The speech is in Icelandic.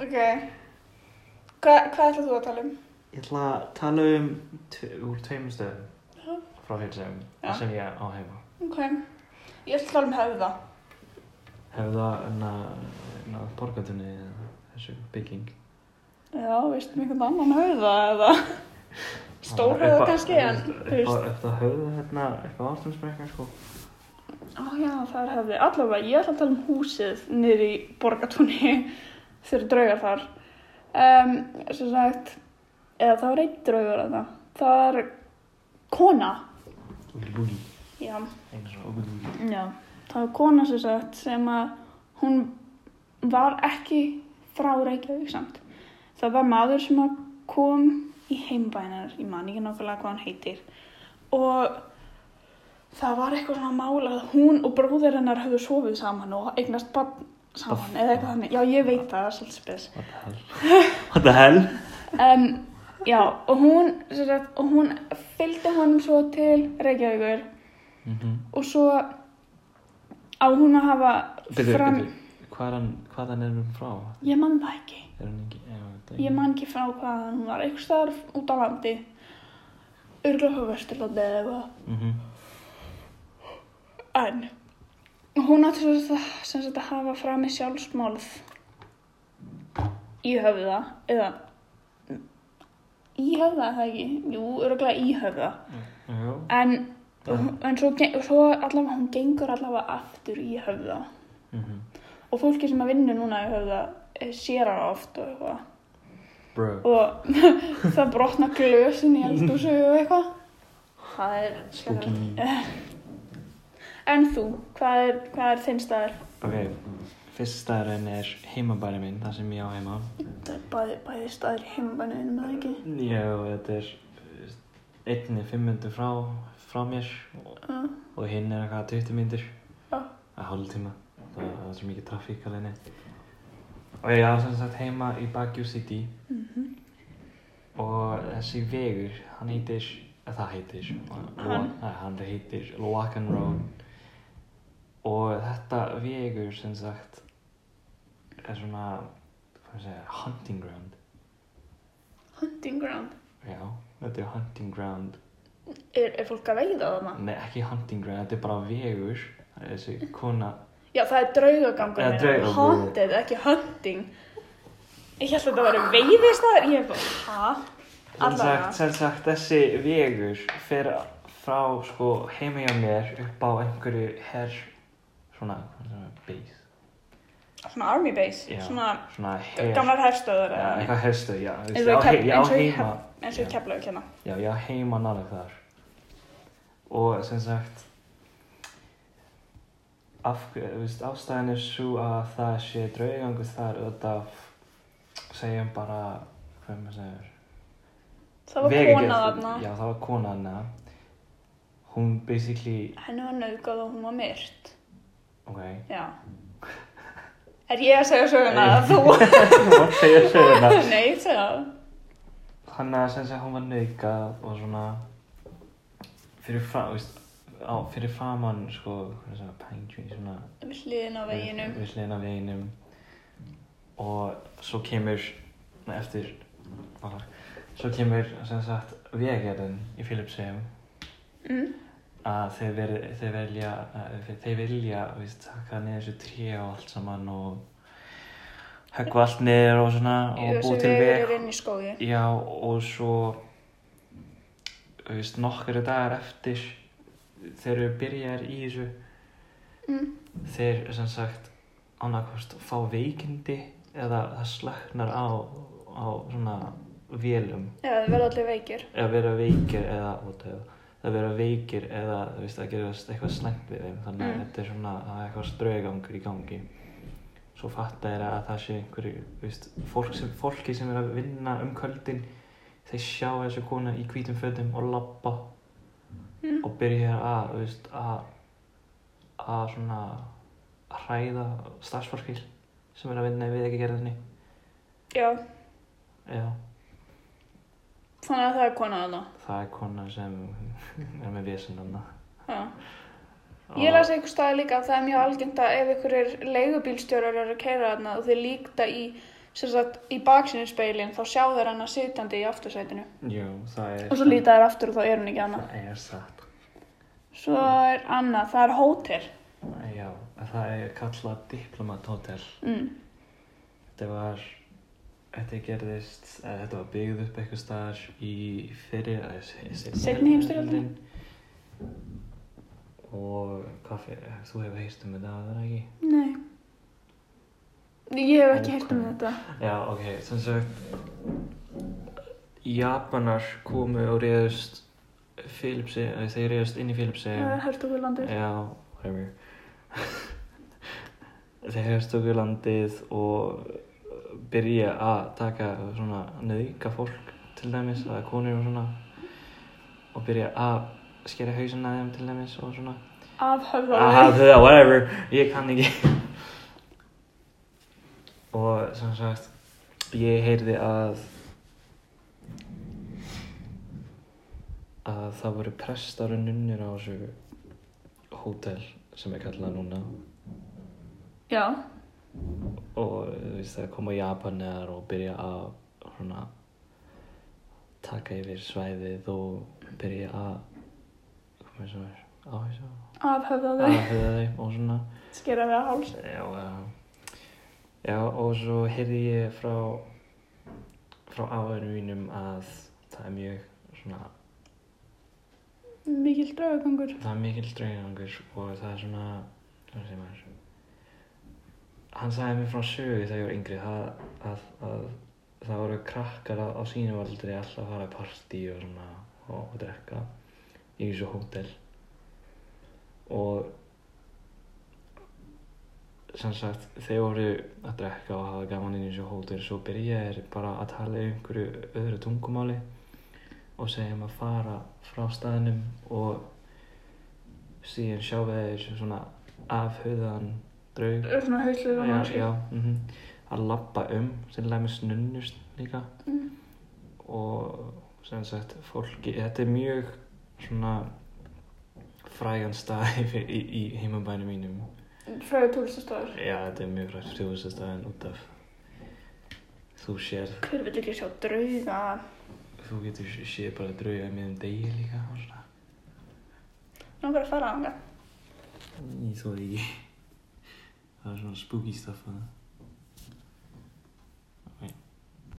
Ok. Hva, hvað ætlað þú að tala um? Ég ætla að tala um tve, úr tveimur Já. stöðum frá heilsum Já. sem ég á heima. Ok. Ég ætla að tala um höfða. Hefur það unna, unna borgatunni eða þessu bygging. Já, veistu mig einhvern annan um höfða eða stór höfða kannski en, þú veist. Upp á höfðu hérna, upp á ástumsbrekkan sko. Ó já, það er höfði. Allavega, ég ætla að tala um húsið niður í borgatúni þegar draugar þar. Um, sem sagt, eða það var einn draugur að það. Það var kona. Úli búli. Já. Einu svona úli búli. Já. Það var kona sem sagt sem að hún var ekki frá Reykjavík samt. Það var maður sem að kom í heimbænar, ég man ekki nákvæmlega hvað hann heitir. Og það var eitthvað svona mál að hún og bróðir hennar höfðu sofið saman og eignast barn saman eða eitthvað þannig. Já, ég veit það, það er svolítið spes. What the hell? What the hell? Um, já, og hún, sem sagt, og hún fylgdi honum svo til Reykjavíkur Mhm. og svo á hún að hafa Byrju, byrju. Hvað er hann, hvað hann er hann frá? Ég man það ekki. Er hann ekki, já, þetta Ég man ekki frá hvað hún var. Einhvers staðar út á landi. Örgulega frá Vesturlandi eða eitthvað. Mhm. En hún átti svo það sem sagt að hafa frami sjálfsmálð í höfða. Eða í höfða er það ekki? Jú, örgulega í höfða. Já. En, Já. en svo, gen- svo allavega hún gengur allavega aftur í höfða. Mhm. Og fólki sem að vinna núna í höfða eh, sér hana oft og eitthvað. Bro. og það brotna glösin í eldhúsu og eitthvað. Það er Spooky. skelfilegt. En þú, hvað er, hvað er þinn staðar? Ok, fyrst staðurinn er heimabæri minn, það sem ég á heima. Það er bæði, bæði staðar í heimabanninum eða ekki. Já, þetta er einni 500 frá, frá mér og, Uh, og hinn er eitthvað 20 myndir. Já. Að hálftíma. Það, það er svo mikið trafík alveg neitt. Og ég á sem sagt heima í Baguio City Mhm. og þessi vegur, hann heitir, eh, það heitir, Hann? Nei, hann heitir Loacan Road og þetta vegur sem sagt er svona, hvað ég segja, hunting ground. hunting ground. Já, þetta er hunting ground. Er, er fólk að veiða þarna? Nei, ekki hunting ground, þetta er bara vegur. Það er Þessi kona, Já, það er draugagangur. Eða meina. draugagangur. Haunted, ekki hunting. Ég held að þetta var veiðistaðar. Ég er bara, hæ? sem sagt, sem sagt, þessi vegur fer frá sko heima hjá mér upp á einhverju herr, svona, hvað sem er, base. Svona army base. Já, Svona svona her. gamlar herstöður. Já, eða- eitthvað herstöð, já. þú veist, Eins Ég og á í he- Kef- ég á eins og í heima, Hef- eins og Já. í keflaug hérna. já, ég á heima nálega þar. Og sem sagt, af, hver- þú veist, ástæðan er svo að það sé draugangur þar auðvitað, af- segjum bara, hvað maður segir, Það var Vegagerð- kona þarna, Já, það var kona þarna. Hún basically, henni var nauðgað og hún var myrt. ok. Já. Er ég að segja söguna Nei. að þú? Þú mátt segja söguna. Nei, ég segja það. Þannig að sem sé hún var naukað og svona fyrir fram, veist, á, fyrir framann sko, hvað er það, pine tree, svona Við hliðin á veginum. Við hliðin á veginum. Og svo kemur, nei, eftir, bara, svo kemur sem sagt vegagerðin í Philipsheim Mm. að þeir, veri, þeir velja, að þeir- þeir vilja, veist, taka niður þessu tré og allt saman og höggva allt niður og svona og Þessi búið til vegur veg er inn í skógi. Já, og svo þú veist, nokkru dagar eftir þegar við byrjar í þessu Mm. þeir sem sagt annarkvæmst fá veikindi eða það slöknar á, á svona vélum Já, það verða allir veikir. eða vera veikir eða út eða að vera veikir eða þú veist, að gera eitthvað slæmt við þeim þannig að Mm. þetta er svona það er eitthvað straugangur í gangi svo fatta þeir að það sé einhverju þú veist, fólk sem, fólki sem er að vinna um kvöldin þeir sjá þessu kona í hvítum fötum og labba Mm. og byrja að þú veist, að að svona hræða starfsfólkil sem er að vinna við ekki gerðinni Já, já, þannig að það er kona þarna. það er kona sem er með vesendanna Já. Ég las einhver staði líka að það er mjög algengt að ef ykkur er leigubílstjórar eru að keira þarna og þeir líkta í sem sagt í baksinu speilin þá sjá þeir hana sitjandi í aftursætinu Jú, það er og svo líta þeir aftur og þá er hún ekki annað Það er satt svo er annað, það er hótel Já, það er kallað Diplomat Hotel mm. Þetta var Þetta gerðist, eða þetta var byggð upp eitthvað staðar í fyrir eða se- se- Seinni heimsstyrjöldinni. Og hvað fyrir, þú hefur heyrst um þetta aðra ekki? nei ég hef ekki heyrt um þetta Já, ok, sem sagt Japanar komu og reyðust Filipsi, þeir reyðust inn í Filipsi það er Hertogurlandur Já, whatever Þeir hefst okkur landið og byrja að taka svona nöðika fólk til dæmis, að konur og svona og byrja að skera hausinn að þeim til dæmis og svona af að höfðaði það, whatever, ég kann ekki og sem sagt ég heyrði að að það voru prestar og nunnir á þessu hótel sem er kallað núna já, og þú veist það koma Japanar og byrja að svona taka yfir svæðið og byrja að koma eins og er á þessu af höfðaði að höfða þeim og svona skera við að háls Já, já. Já, og svo heyrði ég frá frá áhverjum mínum að það er mjög svona, mikil draugagangur það er mikil draugangur og það er svona hvað segir maður hann sagði mér frá sögu þegar ég var yngri það, að, að það voru krakkar á, á sínum aldrei alltaf að fara í partí og svona og, og drekka í þessu hótel og sem sagt þeir voru að drekka og hafa gaman inn í þessu hótel svo byrja þeir bara að tala í einhverju öðru tungumáli og segja um að fara frá staðnum og síðan sjá við þeir svona afhauðan draug Er svona hauslega já, já, mm að labba um sem læmi snunnust líka Mm. og sem sagt fólki, þetta er mjög svona frægan stað í, í, í heimabænum mínum fræði túlistastofur já, þetta er mjög frægt frjóðustastæðin út af þú sér, hver vil ekki sjá drauga þú getur séð bara drauga í miðum um degi líka og svona, langar að fara ánga ég þóði ekki það er svona spooky stuff að það